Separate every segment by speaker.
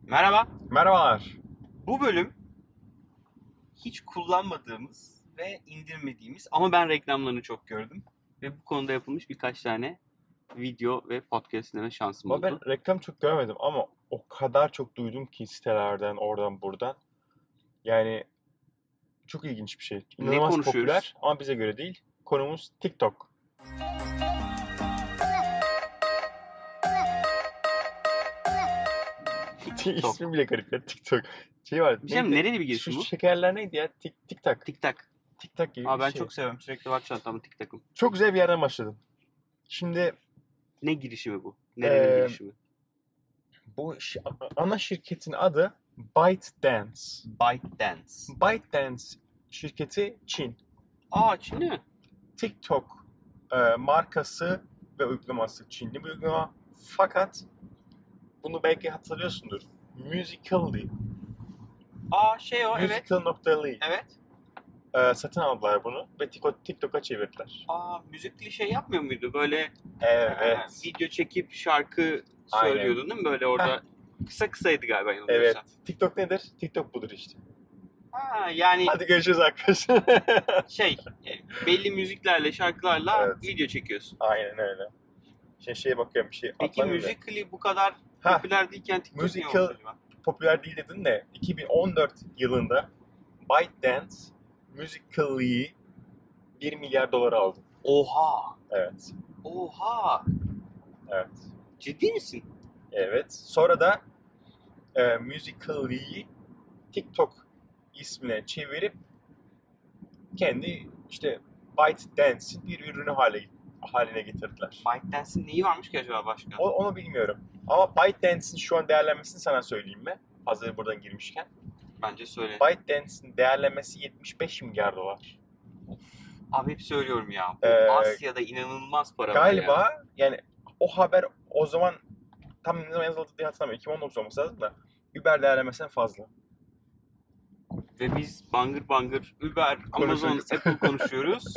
Speaker 1: Merhaba.
Speaker 2: Merhabalar.
Speaker 1: Bu bölüm hiç kullanmadığımız ve indirmediğimiz ama ben reklamlarını çok gördüm. Ve bu konuda yapılmış birkaç tane video ve podcast dinleme şansım
Speaker 2: Ama
Speaker 1: oldu.
Speaker 2: ben reklam çok görmedim ama o kadar çok duydum ki sitelerden, oradan, buradan. Yani çok ilginç bir şey.
Speaker 1: Ne
Speaker 2: İnanılmaz
Speaker 1: konuşuyoruz?
Speaker 2: popüler ama bize göre değil. Konumuz TikTok.
Speaker 1: TikTok.
Speaker 2: İsmi Şey, bile garip ya TikTok. Şey var.
Speaker 1: Bir şey mi?
Speaker 2: neydi?
Speaker 1: Nereli bir girişim
Speaker 2: Şu
Speaker 1: bu?
Speaker 2: şekerler neydi ya? Tik, tik tak.
Speaker 1: Tik tak.
Speaker 2: Tik tak gibi
Speaker 1: Aa,
Speaker 2: bir
Speaker 1: ben
Speaker 2: şey.
Speaker 1: çok seviyorum. Sürekli var çantamda tik takım.
Speaker 2: Çok güzel bir yerden başladın. Şimdi
Speaker 1: Ne girişimi bu? Nerenin
Speaker 2: Ee,
Speaker 1: girişimi?
Speaker 2: bu şi- ana şirketin adı ByteDance.
Speaker 1: ByteDance.
Speaker 2: ByteDance şirketi Çin.
Speaker 1: Aa Çinli mi?
Speaker 2: TikTok e, markası ve uygulaması Çinli bir uygulama. Fakat bunu belki hatırlıyorsundur. Musical.ly.
Speaker 1: Aa şey o evet.
Speaker 2: Musical.ly.
Speaker 1: Evet.
Speaker 2: E, satın aldılar bunu ve Tik- TikTok'a çevirdiler.
Speaker 1: Aa müzikli şey yapmıyor muydu? Böyle Ha,
Speaker 2: Evet.
Speaker 1: video çekip şarkı
Speaker 2: Aynen.
Speaker 1: söylüyordun değil mi böyle orada? Kısa kısaydı galiba
Speaker 2: Evet.
Speaker 1: yanılmıyorsam.
Speaker 2: TikTok nedir? TikTok budur işte.
Speaker 1: Ha, yani
Speaker 2: Hadi görüşürüz arkadaşlar.
Speaker 1: şey e, belli müziklerle şarkılarla
Speaker 2: Evet.
Speaker 1: video çekiyorsun.
Speaker 2: Aynen öyle. Şimdi şeye bakıyorum bir şey.
Speaker 1: Peki
Speaker 2: atlamıyor da.
Speaker 1: müzikli bu kadar
Speaker 2: Ha.
Speaker 1: popüler değilken TikTok
Speaker 2: Musical-
Speaker 1: niye olmuş acaba?
Speaker 2: popüler değil dedin de 2014 yılında ByteDance Musical.ly'yi 1 milyar dolara aldı.
Speaker 1: Oha!
Speaker 2: Evet.
Speaker 1: Oha!
Speaker 2: Evet.
Speaker 1: Ciddi misin?
Speaker 2: Evet. Sonra da e, Musical.ly'yi TikTok ismine çevirip kendi işte ByteDance'in bir ürünü hale haline getirdiler.
Speaker 1: ByteDance'in neyi varmış ki acaba başka?
Speaker 2: O, onu bilmiyorum. Ama ByteDance'in şu an değerlenmesini sana söyleyeyim mi? Hazır buradan girmişken.
Speaker 1: Bence söyle.
Speaker 2: ByteDance'in değerlenmesi 75 milyar dolar.
Speaker 1: Abi hep söylüyorum ya. Bu
Speaker 2: Ee,
Speaker 1: Asya'da inanılmaz para var ya.
Speaker 2: Galiba yani o haber o zaman tam ne zaman yazıldı diye hatırlamıyorum. 2019 olması lazım da Uber değerlemesinden fazla.
Speaker 1: Ve biz bangır bangır Uber, Amazon,
Speaker 2: Konuşuyoruz.
Speaker 1: Apple konuşuyoruz.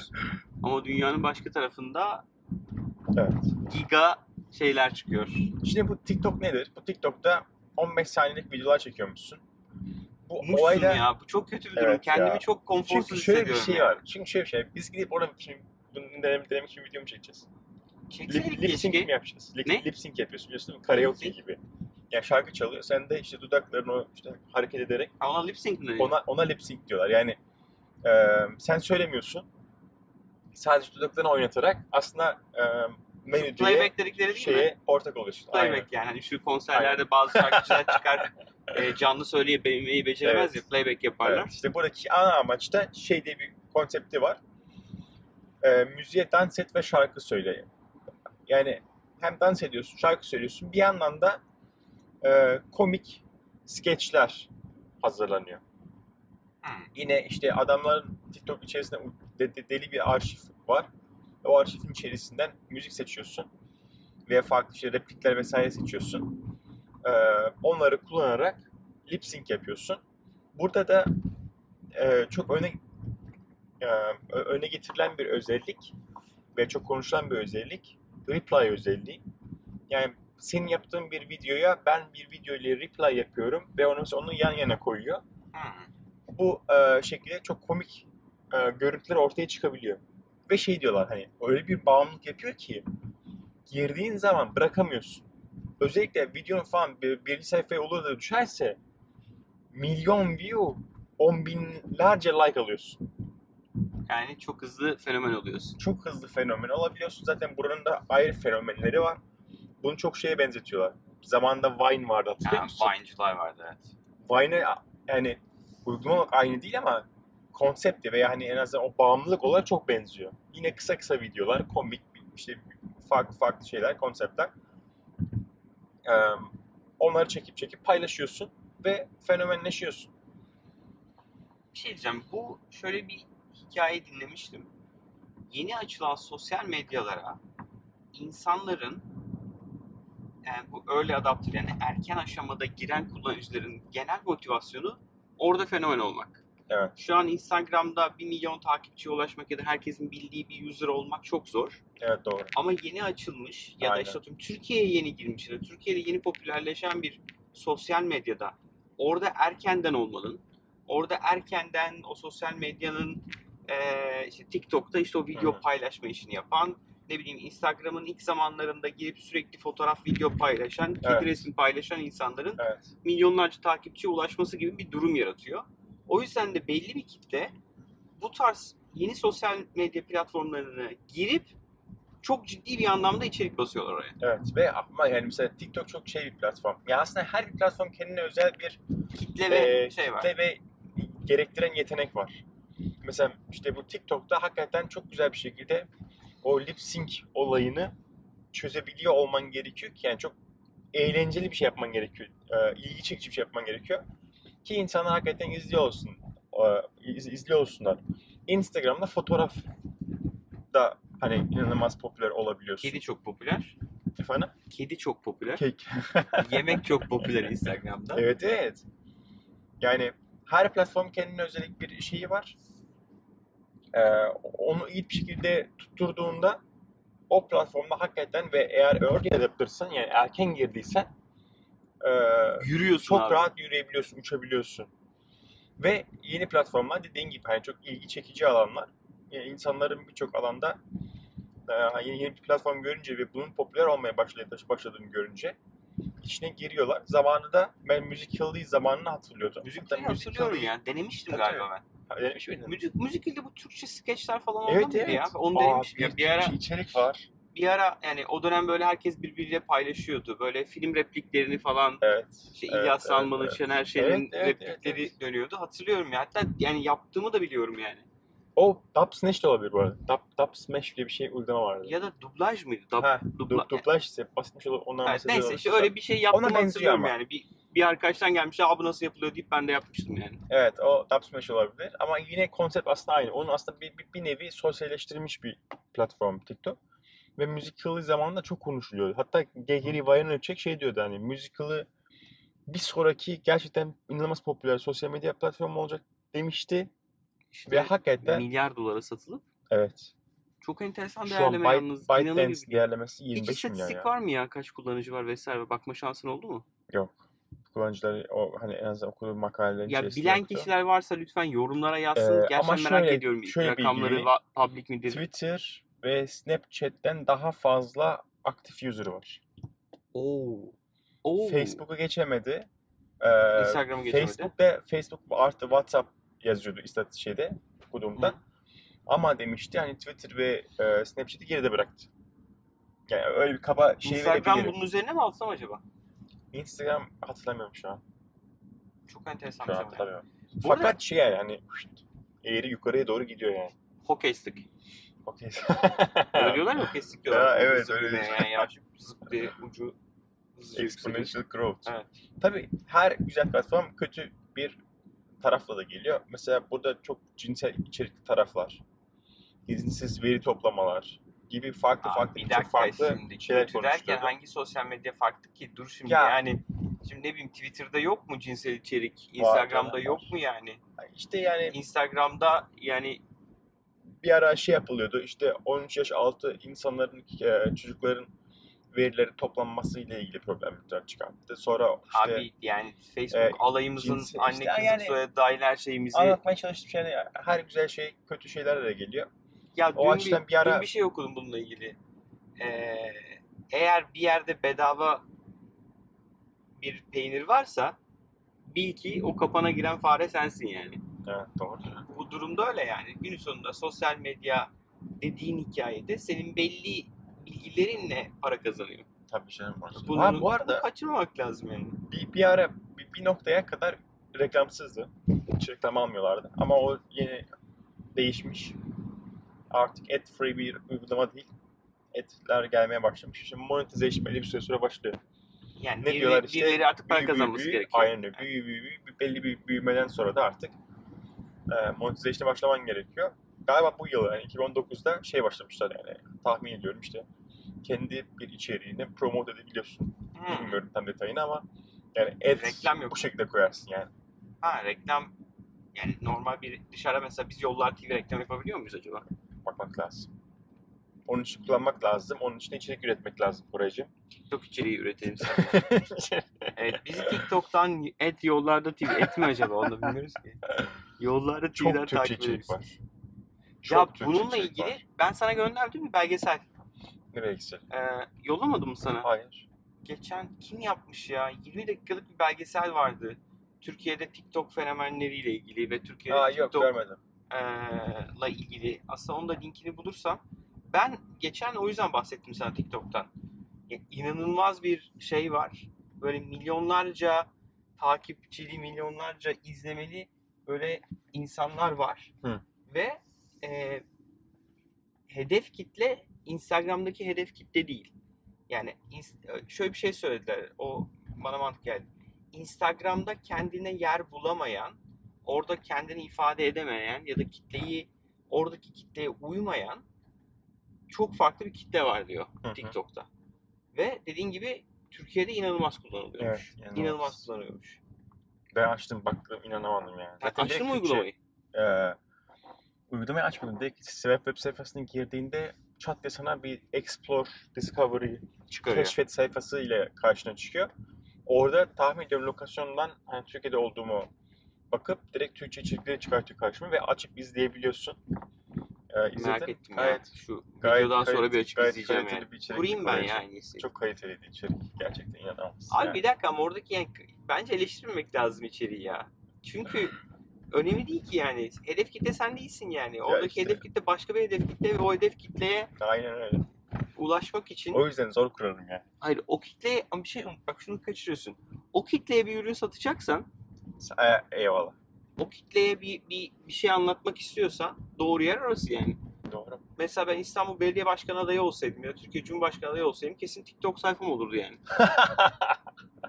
Speaker 1: Ama dünyanın başka tarafında
Speaker 2: Evet.
Speaker 1: giga şeyler çıkıyor.
Speaker 2: Şimdi bu TikTok nedir? Bu TikTok'ta 15 saniyelik videolar çekiyormuşsun. Bu
Speaker 1: Mutsuz
Speaker 2: olayda
Speaker 1: ya. Bu çok kötü bir durum.
Speaker 2: Evet
Speaker 1: Kendimi
Speaker 2: ya.
Speaker 1: çok konforsuz
Speaker 2: çünkü şöyle bir
Speaker 1: hissediyorum.
Speaker 2: şey
Speaker 1: ya.
Speaker 2: var. Çünkü şöyle bir şey. Biz gidip orada şimdi bunu denemek, denemek için video mu çekeceğiz? Lip,
Speaker 1: Çekseydik
Speaker 2: lip sync mi
Speaker 1: keşke.
Speaker 2: yapacağız? Lip,
Speaker 1: Ne?
Speaker 2: lip sync yapıyorsun biliyorsun değil mi? Karaoke
Speaker 1: sync.
Speaker 2: gibi. Yani şarkı çalıyor. Sen de işte dudaklarını o işte hareket ederek
Speaker 1: Ha, Ona lip sync mi deniyor?
Speaker 2: Ona ona lip sync diyorlar. Yani e, sen söylemiyorsun. Sadece dudaklarını oynatarak aslında e, melodiye
Speaker 1: Playback dedikleri değil mi?
Speaker 2: şeye ortak oluyorsun. Aynen.
Speaker 1: Playback yani. Hani şu konserlerde bazı şarkıcılar çıkar e, canlı söyleyebilmeyi beceremez
Speaker 2: Evet.
Speaker 1: ya. Playback yaparlar.
Speaker 2: Evet, işte buradaki ana amaç da şey diye bir konsepti var. E, müziğe dans et ve şarkı söyle. Yani hem dans ediyorsun, şarkı söylüyorsun. Bir yandan da e, komik skeçler hazırlanıyor.
Speaker 1: Hmm.
Speaker 2: Yine işte adamların TikTok içerisinde u- de- de- deli bir arşiv var. O arşivin içerisinden müzik seçiyorsun. Ve farklı işte replikler vesaire seçiyorsun. E, onları kullanarak lip sync yapıyorsun. Burada da e, çok öne e, ö- öne getirilen bir özellik ve çok konuşulan bir özellik reply özelliği. Yani senin yaptığın bir videoya ben bir video ile reply yapıyorum ve onu onu yan yana koyuyor.
Speaker 1: Hmm.
Speaker 2: Bu e, şekilde çok komik e, görüntüler ortaya çıkabiliyor. Ve şey diyorlar hani öyle bir bağımlılık yapıyor ki girdiğin zaman bırakamıyorsun. Özellikle videonun falan bir, birinci sayfaya olur da düşerse milyon view, on binlerce like alıyorsun
Speaker 1: Yani çok hızlı fenomen oluyorsun.
Speaker 2: çok hızlı fenomen olabiliyorsun. Zaten buranın da ayrı fenomenleri var. Bunu çok şeye benzetiyorlar. Zamanında Vine vardı hatırlıyor
Speaker 1: Yani
Speaker 2: musun?
Speaker 1: Vine'cılar vardı evet.
Speaker 2: Vine'e yani uygulama olarak aynı değil ama konsepti veya hani en azından o bağımlılık olarak çok benziyor. Yine kısa kısa videolar, komik işte farklı farklı şeyler, konseptler. Ee, onları çekip çekip paylaşıyorsun ve fenomenleşiyorsun.
Speaker 1: bir şey diyeceğim. Bu şöyle bir hikaye dinlemiştim. Yeni açılan sosyal medyalara insanların yani bu early adapter yani erken aşamada giren kullanıcıların genel motivasyonu orada fenomen olmak.
Speaker 2: Evet.
Speaker 1: Şu an Instagram'da 1 milyon takipçiye ulaşmak ya da herkesin bildiği bir user olmak çok zor.
Speaker 2: Evet doğru.
Speaker 1: Ama yeni açılmış ya da
Speaker 2: Aynen.
Speaker 1: işte atıyorum Türkiye'ye yeni girmiş ya da Türkiye'de yeni popülerleşen bir sosyal medyada orada erkenden olmanın, orada erkenden o sosyal medyanın eee, işte TikTok'ta işte o video
Speaker 2: Hı hı.
Speaker 1: paylaşma işini yapan, ne bileyim Instagram'ın ilk zamanlarında girip sürekli fotoğraf, video paylaşan, kedi
Speaker 2: Evet.
Speaker 1: resim paylaşan insanların
Speaker 2: Evet.
Speaker 1: milyonlarca takipçiye ulaşması gibi bir durum yaratıyor. O yüzden de belli bir kitle bu tarz yeni sosyal medya platformlarına girip çok ciddi bir anlamda içerik basıyorlar oraya.
Speaker 2: Evet ve ama yani mesela TikTok çok şey bir platform. Ya aslında her bir platform kendine özel bir
Speaker 1: Kitle ve
Speaker 2: Ee,
Speaker 1: şey var.
Speaker 2: kitle ve gerektiren yetenek var. Mesela işte bu TikTok'ta hakikaten çok güzel bir şekilde o lip sync olayını çözebiliyor olman gerekiyor ki yani çok eğlenceli bir şey yapman gerekiyor. Ee, ilgi çekici bir şey yapman gerekiyor. Ki insanlar hakikaten izliyor olsun. Ee, iz- izliyor olsunlar. Instagram'da fotoğraf da hani inanılmaz popüler olabiliyorsun.
Speaker 1: Kedi çok popüler.
Speaker 2: Efendim?
Speaker 1: Kedi çok popüler.
Speaker 2: Kek.
Speaker 1: Yemek çok popüler Instagram'da.
Speaker 2: Evet evet. Yani her platform kendine özellik bir şeyi var. Ee, onu iyi bir şekilde tutturduğunda o platformda hakikaten ve eğer early adapter'sın yani erken girdiysen e,
Speaker 1: Yürüyorsun
Speaker 2: çok
Speaker 1: abi.
Speaker 2: rahat yürüyebiliyorsun, uçabiliyorsun. Ve yeni platformlar dediğin gibi hani çok ilgi çekici alanlar. Yani insanların birçok alanda e, yeni, yeni bir platform görünce ve bunun popüler olmaya başladı, başladığını görünce içine giriyorlar. Zamanında ben Music Hill değil zamanını hatırlıyordum.
Speaker 1: Müzik
Speaker 2: Hatta Music
Speaker 1: hatırlıyorum
Speaker 2: Hill'i-
Speaker 1: ya. Denemiştim
Speaker 2: Tabii,
Speaker 1: galiba ben.
Speaker 2: Ha, Denemiş miydin?
Speaker 1: Müzik, müzikle bu Türkçe skeçler falan oldu
Speaker 2: Evet
Speaker 1: muydu
Speaker 2: evet.
Speaker 1: ya? Onu
Speaker 2: Aa,
Speaker 1: denemiştim.
Speaker 2: bir,
Speaker 1: ya. Bir ara
Speaker 2: Türkçe içerik var.
Speaker 1: bir ara yani o dönem böyle herkes birbiriyle paylaşıyordu. Böyle film repliklerini falan
Speaker 2: Evet.
Speaker 1: işte
Speaker 2: evet,
Speaker 1: Şey, İlyas
Speaker 2: evet,
Speaker 1: Salman'ın,
Speaker 2: evet.
Speaker 1: Şener Şen'in
Speaker 2: Evet, evet,
Speaker 1: replikleri
Speaker 2: evet,
Speaker 1: dönüyordu. Hatırlıyorum ya. Hatta yani yaptığımı da biliyorum yani.
Speaker 2: O Dub Smash de olabilir bu arada. Dub, Dub Smash diye bir şey uygulama vardı.
Speaker 1: Ya da dublaj mıydı? Dub-
Speaker 2: ha,
Speaker 1: dubla-
Speaker 2: dub, dublaj ise basmış olur ondan
Speaker 1: Evet,
Speaker 2: bahsediyor
Speaker 1: neyse işte
Speaker 2: olursa.
Speaker 1: öyle bir şey yaptım
Speaker 2: Ona benziyor
Speaker 1: hatırlıyorum
Speaker 2: ama.
Speaker 1: yani. Bir, bir arkadaştan gelmiş abi nasıl yapılıyor deyip ben de yapmıştım yani.
Speaker 2: Evet o Dub Smash olabilir ama yine konsept aslında aynı. Onun aslında bir, bir, bir nevi sosyalleştirilmiş bir platform TikTok. Ve musical'ı zamanında çok konuşuluyordu. Hatta Gary Vaynerchuk şey diyordu hani musical'ı bir sonraki gerçekten inanılmaz popüler sosyal medya platformu olacak demişti. Ve
Speaker 1: İşte
Speaker 2: hakikaten
Speaker 1: milyar dolara satılıp
Speaker 2: evet.
Speaker 1: çok enteresan
Speaker 2: Şu an
Speaker 1: değerleme
Speaker 2: Byte,
Speaker 1: yalnız.
Speaker 2: ByteDance
Speaker 1: İnanılır-
Speaker 2: değerlemesi
Speaker 1: Hiç
Speaker 2: 25 milyon
Speaker 1: istatistik
Speaker 2: ya.
Speaker 1: var mı ya kaç kullanıcı var vesaire bakma şansın oldu mu?
Speaker 2: Kullanıcıları o hani en azından okuduğum makalelerin
Speaker 1: Ya
Speaker 2: içerisinde
Speaker 1: bilen
Speaker 2: yoktu.
Speaker 1: kişiler varsa lütfen yorumlara yazsın.
Speaker 2: Ee,
Speaker 1: Gerçekten
Speaker 2: ama
Speaker 1: merak
Speaker 2: şöyle-
Speaker 1: ediyorum
Speaker 2: şöyle bilgi
Speaker 1: rakamları
Speaker 2: vereyim.
Speaker 1: va- public midir?
Speaker 2: Twitter ve Snapchat'ten daha fazla aktif user var.
Speaker 1: Oo. Oo.
Speaker 2: Facebook'u geçemedi. Ee,
Speaker 1: Instagram'ı geçemedi.
Speaker 2: Facebook'ta Facebook artı WhatsApp yazıyordu istatistik şeyde okuduğumda.
Speaker 1: Hı.
Speaker 2: Ama demişti hani Twitter ve e, Snapchat'i geride bıraktı. Yani öyle bir kaba şey
Speaker 1: Instagram
Speaker 2: verebilirim.
Speaker 1: bunun üzerine mi alsam acaba?
Speaker 2: Instagram hatırlamıyorum şu an.
Speaker 1: Çok enteresan bir
Speaker 2: Şu an
Speaker 1: şey. bu ya.
Speaker 2: hatırlamıyorum.
Speaker 1: Bu
Speaker 2: Fakat
Speaker 1: arada
Speaker 2: şey yani hani şşt, eğri yukarıya doğru gidiyor yani.
Speaker 1: hokey stick.
Speaker 2: Okey.
Speaker 1: Öyle diyorlar ya kestik
Speaker 2: Ya,
Speaker 1: diyorlar.
Speaker 2: evet,
Speaker 1: Zıp
Speaker 2: öyle
Speaker 1: diye
Speaker 2: diyor.
Speaker 1: Yani yavaş zıp diye ucu hızlıca yükseliyor.
Speaker 2: Exponential growth.
Speaker 1: Evet.
Speaker 2: Tabii her güzel platform kötü bir tarafla da geliyor. Mesela burada çok cinsel içerikli taraflar, izinsiz veri toplamalar gibi farklı
Speaker 1: Abi
Speaker 2: farklı
Speaker 1: bir
Speaker 2: çok
Speaker 1: dakika
Speaker 2: farklı
Speaker 1: şimdi
Speaker 2: şeyler
Speaker 1: kötü derken
Speaker 2: konuşuluyor.
Speaker 1: hangi sosyal medya farklı ki? Dur şimdi
Speaker 2: Ya.
Speaker 1: yani. Şimdi ne bileyim Twitter'da yok mu cinsel içerik? Instagram'da
Speaker 2: var.
Speaker 1: yok mu yani?
Speaker 2: İşte yani
Speaker 1: Instagram'da yani
Speaker 2: bir ara şey yapılıyordu. İşte 13 yaş altı insanların e, çocukların verileri toplanması ile ilgili problemler çıkarttı. Sonra işte
Speaker 1: abi yani Facebook
Speaker 2: e,
Speaker 1: alayımızın
Speaker 2: cinsel-
Speaker 1: anne
Speaker 2: işte
Speaker 1: kızı
Speaker 2: yani-
Speaker 1: soyadı dahil her şeyimizi
Speaker 2: anlatmaya çalıştığım şey ne? her güzel şey kötü şeylerle de geliyor.
Speaker 1: Ya
Speaker 2: O
Speaker 1: dün
Speaker 2: açıdan
Speaker 1: bir,
Speaker 2: bir ara-
Speaker 1: dün bir şey okudum bununla ilgili. Ee, eğer bir yerde bedava bir peynir varsa bil ki o kapana giren fare sensin yani.
Speaker 2: Evet doğru.
Speaker 1: Bu durumda öyle yani. Günün sonunda sosyal medya dediğin hikayede senin belli bilgilerinle para kazanıyor.
Speaker 2: Tabii canım. orası.
Speaker 1: Bunu,
Speaker 2: Ha, bu arada
Speaker 1: bunu kaçırmamak lazım yani.
Speaker 2: bir, bir ara bir, bir noktaya kadar reklamsızdı. Hiç reklam almıyorlardı. Ama o yeni değişmiş. Artık ad free bir uygulama değil. Ad'ler gelmeye başlamış. Şimdi monetization belli bir süre sonra başlıyor.
Speaker 1: Yani
Speaker 2: Ne
Speaker 1: birileri-
Speaker 2: diyorlar işte,
Speaker 1: birileri artık para
Speaker 2: Büyü, büyü,
Speaker 1: kazanması
Speaker 2: büyü,
Speaker 1: gerekiyor.
Speaker 2: Aynen öyle. Büyü, büyü, büyü, Bir- belli bir büyümeden sonra da artık e, monetization'a başlaman gerekiyor. Galiba bu yıl yani 2019'da şey başlamışlar yani tahmin ediyorum işte kendi bir içeriğini promote edebiliyorsun.
Speaker 1: Hmm.
Speaker 2: Bilmiyorum tam detayını ama yani ad
Speaker 1: Reklam yok.
Speaker 2: bu şekilde koyarsın yani.
Speaker 1: Ha reklam yani normal bir dışarıda mesela biz yollar TV reklam yapabiliyor muyuz acaba?
Speaker 2: Bakmak lazım. Onun için kullanmak lazım. Onun için de içerik üretmek lazım Koraycığım.
Speaker 1: TikTok içeriği üretelim sana. Evet, bizi TikTok'tan et yollarda TV et mi acaba onu bilmiyoruz ki. Yollarda
Speaker 2: Çok
Speaker 1: TV'den
Speaker 2: Türkçe
Speaker 1: takip
Speaker 2: içerik
Speaker 1: ederiz.
Speaker 2: var.
Speaker 1: Ya
Speaker 2: Çok Türkçe
Speaker 1: bununla
Speaker 2: içerik
Speaker 1: ilgili
Speaker 2: var.
Speaker 1: ben sana gönderdim mi belgesel?
Speaker 2: Ne belgesel?
Speaker 1: Ee, yollamadım mı sana?
Speaker 2: Hayır.
Speaker 1: Geçen kim yapmış ya? 20 dakikalık bir belgesel vardı. Türkiye'de TikTok fenomenleriyle ilgili ve Türkiye'de
Speaker 2: Aa, yok
Speaker 1: TikTok'la
Speaker 2: görmedim.
Speaker 1: ilgili. Aslında onun da linkini bulursam. Ben geçen o yüzden bahsettim sana TikTok'tan. Ya, inanılmaz bir şey var. Böyle milyonlarca takipçili, milyonlarca izlemeli böyle insanlar var.
Speaker 2: Hı.
Speaker 1: Ve e, hedef kitle Instagram'daki hedef kitle değil. Yani ins- şöyle bir şey söylediler. O bana mantık geldi. Instagram'da kendine yer bulamayan, orada kendini ifade edemeyen ya da kitleyi oradaki kitleye uymayan çok farklı bir kitle var diyor
Speaker 2: Hı hı.
Speaker 1: TikTok'ta. Ve dediğin gibi Türkiye'de inanılmaz kullanılıyormuş.
Speaker 2: Evet, inanılmaz.
Speaker 1: inanılmaz. kullanılıyormuş.
Speaker 2: Ben açtım baktım inanamadım yani.
Speaker 1: Ha,
Speaker 2: Zaten
Speaker 1: açtın mı
Speaker 2: direkt şey-
Speaker 1: uygulamayı?
Speaker 2: Ee, uygulamayı açmadım. Direkt web, web sayfasına girdiğinde çat diye sana bir Explore, Discovery,
Speaker 1: Çıkarıyor.
Speaker 2: keşfet sayfası ile karşına çıkıyor. Orada tahmin ediyorum lokasyondan hani Türkiye'de olduğumu bakıp direkt Türkçe içerikleri çıkartıyor karşıma ve açıp izleyebiliyorsun. Ee, izledim.
Speaker 1: Merak ettim ya.
Speaker 2: Gayet,
Speaker 1: Şu
Speaker 2: gayet
Speaker 1: videodan sonra
Speaker 2: kalite-
Speaker 1: bir açıp
Speaker 2: gayet
Speaker 1: izleyeceğim
Speaker 2: kaliteli
Speaker 1: yani.
Speaker 2: bir içerik
Speaker 1: Kurayım ben
Speaker 2: var.
Speaker 1: ya en iyisi.
Speaker 2: Çok kaliteliydi içerik. Gerçekten inanamazsın.
Speaker 1: Abi
Speaker 2: yani.
Speaker 1: bir dakika ama oradaki yani, bence eleştirmemek lazım içeriği ya. Çünkü önemli değil ki yani. Hedef kitle sen değilsin yani. Oradaki
Speaker 2: işte.
Speaker 1: hedef kitle başka bir hedef kitle ve o hedef kitleye
Speaker 2: Aynen öyle.
Speaker 1: ulaşmak için
Speaker 2: O yüzden zor kurarım ya.
Speaker 1: hayır o kitleye ama bir şey bak şunu kaçırıyorsun. O kitleye bir ürün satacaksan
Speaker 2: Ee, Eyvallah.
Speaker 1: o kitleye bir, bir, bir şey anlatmak istiyorsan doğru yer orası yani.
Speaker 2: Doğru.
Speaker 1: Mesela ben İstanbul Belediye Başkanı adayı olsaydım ya da Türkiye Cumhurbaşkanı adayı olsaydım kesin TikTok sayfam olurdu yani.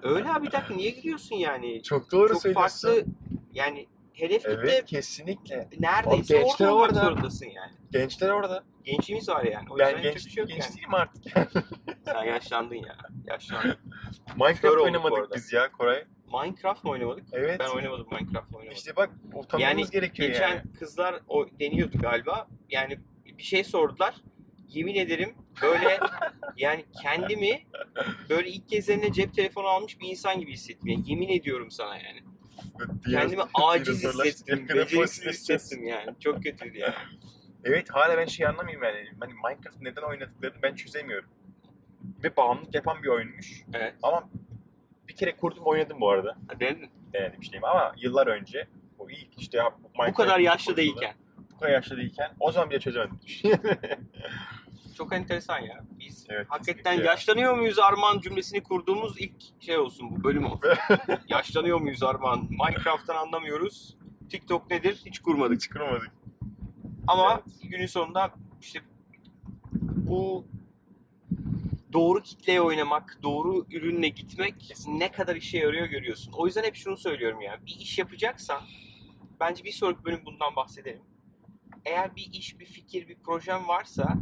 Speaker 1: Öyle abi bir dakika niye giriyorsun yani?
Speaker 2: Çok doğru
Speaker 1: Çok
Speaker 2: söylüyorsun.
Speaker 1: farklı yani hedef kitle
Speaker 2: Evet kesinlikle.
Speaker 1: neredeyse
Speaker 2: Abi gençler
Speaker 1: orada olmak
Speaker 2: orada.
Speaker 1: zorundasın yani.
Speaker 2: Gençler orada.
Speaker 1: Gençliğimiz var yani. O yüzden çok
Speaker 2: Ben
Speaker 1: bir
Speaker 2: genç,
Speaker 1: şey yok
Speaker 2: genç
Speaker 1: yani.
Speaker 2: değilim artık.
Speaker 1: Sen yaşlandın ya. Yaşlandın. Kör
Speaker 2: Minecraft
Speaker 1: olduk bu arada.
Speaker 2: oynamadık biz ya Koray.
Speaker 1: Minecraft mı oynamadık?
Speaker 2: Evet.
Speaker 1: Ben oynamadım Minecraft oynamadım.
Speaker 2: İşte bak utanmamız
Speaker 1: Yani
Speaker 2: gerekiyor
Speaker 1: Geçen
Speaker 2: yani.
Speaker 1: kızlar o deniyordu galiba. Yani bir şey sordular. Yemin ederim böyle yani kendimi böyle ilk kez eline cep telefonu almış bir insan gibi hissettim. Yani yemin ediyorum sana yani. Kendimi aciz hissettim. Beceriksiz hissettim yani. Çok kötüydü yani.
Speaker 2: Evet hala ben şey anlamıyorum yani. Hani Minecraft neden oynadıklarını ben çözemiyorum. Ve bağımlılık yapan bir oyunmuş.
Speaker 1: Evet.
Speaker 2: Ama bir kere kurdum oynadım bu arada.
Speaker 1: Ben
Speaker 2: Denedim işte ama yıllar önce. O ilk işte ya
Speaker 1: bu
Speaker 2: Minecraft
Speaker 1: kadar yaşlı
Speaker 2: kurduğunda,
Speaker 1: değilken.
Speaker 2: Bu kadar yaşlı değilken o zaman bile çözemedim.
Speaker 1: Çok enteresan ya. Biz
Speaker 2: Evet,
Speaker 1: hakikaten
Speaker 2: kesinlikle ya.
Speaker 1: yaşlanıyor muyuz Arman cümlesini kurduğumuz ilk şey olsun bu bölüm olsun. yaşlanıyor muyuz Arman? Minecraft'tan anlamıyoruz. TikTok nedir? Hiç kurmadık.
Speaker 2: Hiç kırmadık.
Speaker 1: Ama günün sonunda işte bu doğru kitleye oynamak, doğru ürünle gitmek ne kadar işe yarıyor görüyorsun. O yüzden hep şunu söylüyorum yani. Bir iş yapacaksan bence bir sonraki bölüm bundan bahsedelim. Eğer bir iş, bir fikir, bir projen varsa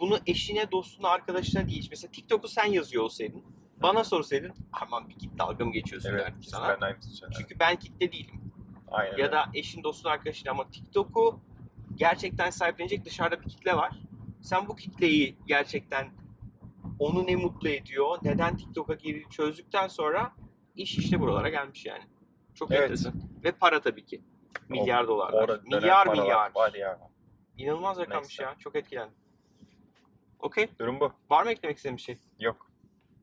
Speaker 1: bunu eşine, dostuna, arkadaşına değil. Mesela TikTok'u sen yazıyor olsaydın, bana sorsaydın aman bir git dalga mı geçiyorsun
Speaker 2: Evet.
Speaker 1: derdim sana.
Speaker 2: Ben de aynısını söylerim.
Speaker 1: Çünkü ben kitle değilim
Speaker 2: Aynen.
Speaker 1: ya da eşin dostun arkadaşın ama TikTok'u gerçekten sahiplenecek dışarıda bir kitle var. Sen bu kitleyi gerçekten onu ne mutlu ediyor, neden TikTok'a girdi çözdükten sonra iş işte buralara gelmiş yani. Çok
Speaker 2: Evet.
Speaker 1: enteresan. Ve para tabii ki. Milyar dolarlar.
Speaker 2: Orada dönen
Speaker 1: milyar
Speaker 2: paralar
Speaker 1: milyar.
Speaker 2: Var ya.
Speaker 1: İnanılmaz rakammış
Speaker 2: Neyse.
Speaker 1: ya. Çok etkilendim. Okey.
Speaker 2: Durum bu.
Speaker 1: Var mı eklemek istediğin bir şey?
Speaker 2: Yok.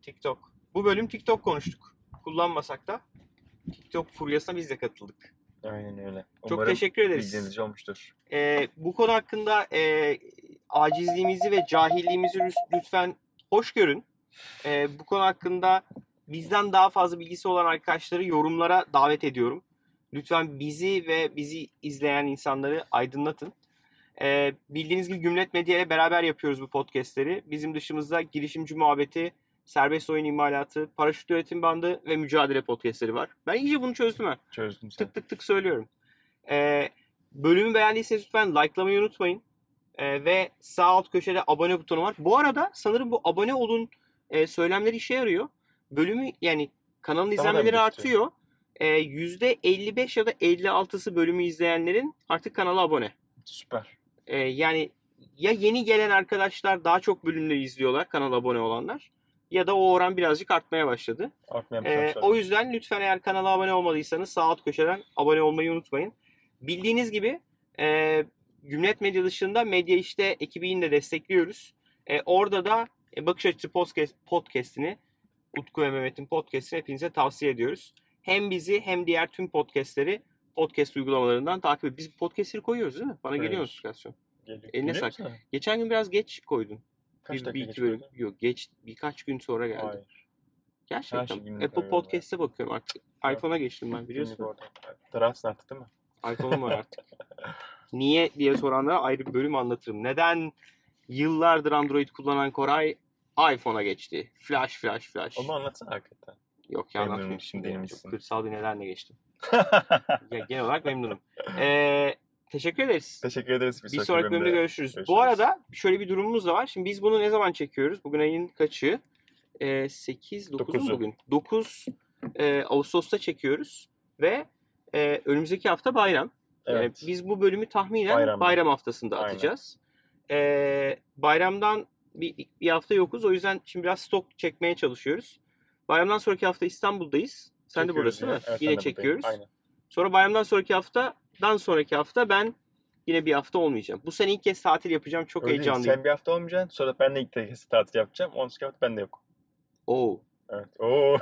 Speaker 1: TikTok. Bu bölüm TikTok konuştuk. Kullanmasak da TikTok furyasına biz de katıldık.
Speaker 2: Aynen öyle.
Speaker 1: Çok teşekkür ederiz.
Speaker 2: bilgilenici olmuştur.
Speaker 1: Ee, bu konu hakkında e, acizliğimizi ve cahilliğimizi lüs- lütfen hoş görün. Ee, bu konu hakkında bizden daha fazla bilgisi olan arkadaşları yorumlara davet ediyorum. Lütfen bizi ve bizi izleyen insanları aydınlatın. Ee, bildiğiniz gibi Gümlet Medya ile beraber yapıyoruz bu podcastleri. Bizim dışımızda girişimci muhabbeti, serbest oyun imalatı, paraşüt üretim bandı ve mücadele podcastleri var. Ben iyice bunu çözdüm ha
Speaker 2: Çözdüm sen.
Speaker 1: tık tık tık söylüyorum. Ee, bölümü beğendiyseniz lütfen likelamayı unutmayın. Ee, ve sağ alt köşede abone butonu var. Bu arada sanırım bu abone olun e, söylemleri işe yarıyor. Bölümü yani kanalın
Speaker 2: da
Speaker 1: izlenmeleri
Speaker 2: mı
Speaker 1: artıyor. Ee, %55 ya da 56'sı bölümü izleyenlerin artık kanala abone.
Speaker 2: Süper.
Speaker 1: Ee, yani ya yeni gelen arkadaşlar daha çok bölümleri izliyorlar kanala abone olanlar ya da o oran birazcık artmaya başladı.
Speaker 2: Artmaya
Speaker 1: Ee,
Speaker 2: başlamışlar.
Speaker 1: o yüzden lütfen eğer kanala abone olmadıysanız sağ alt köşeden abone olmayı unutmayın. Bildiğiniz gibi e, Gümlet Medya dışında Medya İşte ekibini de destekliyoruz. E, orada da e, Bakış Açısı Podcast, Podcast'ini Utku ve Mehmet'in podcast'ini hepinize tavsiye ediyoruz. Hem bizi hem diğer tüm podcast'leri podcast uygulamalarından takip et. Biz podcast'leri koyuyoruz değil mi? Bana geliyor
Speaker 2: Koyuyoruz.
Speaker 1: notifikasyon.
Speaker 2: Geliyor.
Speaker 1: eline
Speaker 2: Biliyor
Speaker 1: sak-
Speaker 2: musun?
Speaker 1: Geçen gün biraz geç koydun.
Speaker 2: Kaç
Speaker 1: bir,
Speaker 2: dakika
Speaker 1: bir iki
Speaker 2: geç
Speaker 1: bölüm.
Speaker 2: koydun?
Speaker 1: Yok geç birkaç gün sonra geldi.
Speaker 2: Hayır. Her
Speaker 1: Gerçekten.
Speaker 2: şey günlük
Speaker 1: Apple
Speaker 2: arıyorum
Speaker 1: Podcast'e bakıyorum artık. iPhone'a geçtim ben biliyorsun.
Speaker 2: Biliyorsun. Tarafsın artık değil mi?
Speaker 1: iPhone'um var artık. Niye diye soranlara ayrı bir bölüm anlatırım. Neden yıllardır Android kullanan Koray iPhone'a geçti? Flash flash flash.
Speaker 2: Onu anlatsana hakikaten.
Speaker 1: Yok ya
Speaker 2: Memnunum,
Speaker 1: anlatmayayım
Speaker 2: şimdi
Speaker 1: şimdi. ya.
Speaker 2: eminsin.
Speaker 1: Çok kırsal bir nedenle geçtim. Ya, genel olarak memnunum. Ee, teşekkür ederiz.
Speaker 2: Teşekkür ederiz.
Speaker 1: Bir sonraki bölümde görüşürüz.
Speaker 2: görüşürüz.
Speaker 1: Bu arada şöyle bir durumumuz da var. Şimdi biz bunu ne zaman çekiyoruz? Bugün ayın kaçı? Ee, 8, 9 mu
Speaker 2: Dokuzu.
Speaker 1: bugün? 9 e, Ağustos'ta çekiyoruz. Ve e, önümüzdeki hafta bayram.
Speaker 2: Evet.
Speaker 1: Ee, biz bu bölümü tahminen
Speaker 2: Bayramda.
Speaker 1: bayram haftasında
Speaker 2: Aynen.
Speaker 1: atacağız. Ee, bayramdan bir, bir hafta yokuz. O yüzden şimdi biraz stok çekmeye çalışıyoruz. Bayramdan sonraki hafta İstanbul'dayız. Sen de
Speaker 2: Çekiyoruz
Speaker 1: buradasın
Speaker 2: yine.
Speaker 1: değil mi?
Speaker 2: Evet,
Speaker 1: yine
Speaker 2: ben de buradayım.
Speaker 1: çekiyoruz.
Speaker 2: Aynen.
Speaker 1: Sonra bayramdan sonraki haftadan sonraki hafta ben yine bir hafta olmayacağım. Bu sene ilk kez tatil yapacağım. Çok
Speaker 2: Öyle değil,
Speaker 1: heyecanlıyım.
Speaker 2: Sen bir hafta olmayacaksın. Sonra ben de ilk kez tatil yapacağım. Ondan sonra hafta ben de yok.
Speaker 1: Oo.
Speaker 2: Evet. Oo.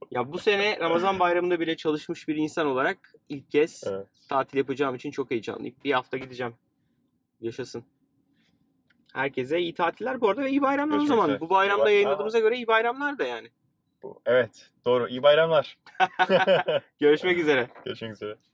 Speaker 1: Ya bu sene Ramazan bayramında bile çalışmış bir insan olarak ilk kez
Speaker 2: Evet.
Speaker 1: tatil yapacağım için çok heyecanlıyım. Bir hafta gideceğim. Yaşasın. Herkese iyi tatiller bu arada ve iyi bayramlar o
Speaker 2: Görüşmek
Speaker 1: zaman.
Speaker 2: üzere.
Speaker 1: Bu bayramda
Speaker 2: Bay-
Speaker 1: yayınladığımıza göre iyi bayramlar da yani.
Speaker 2: Bu- Evet. Doğru. İyi bayramlar.
Speaker 1: Görüşmek üzere.
Speaker 2: Görüşmek üzere.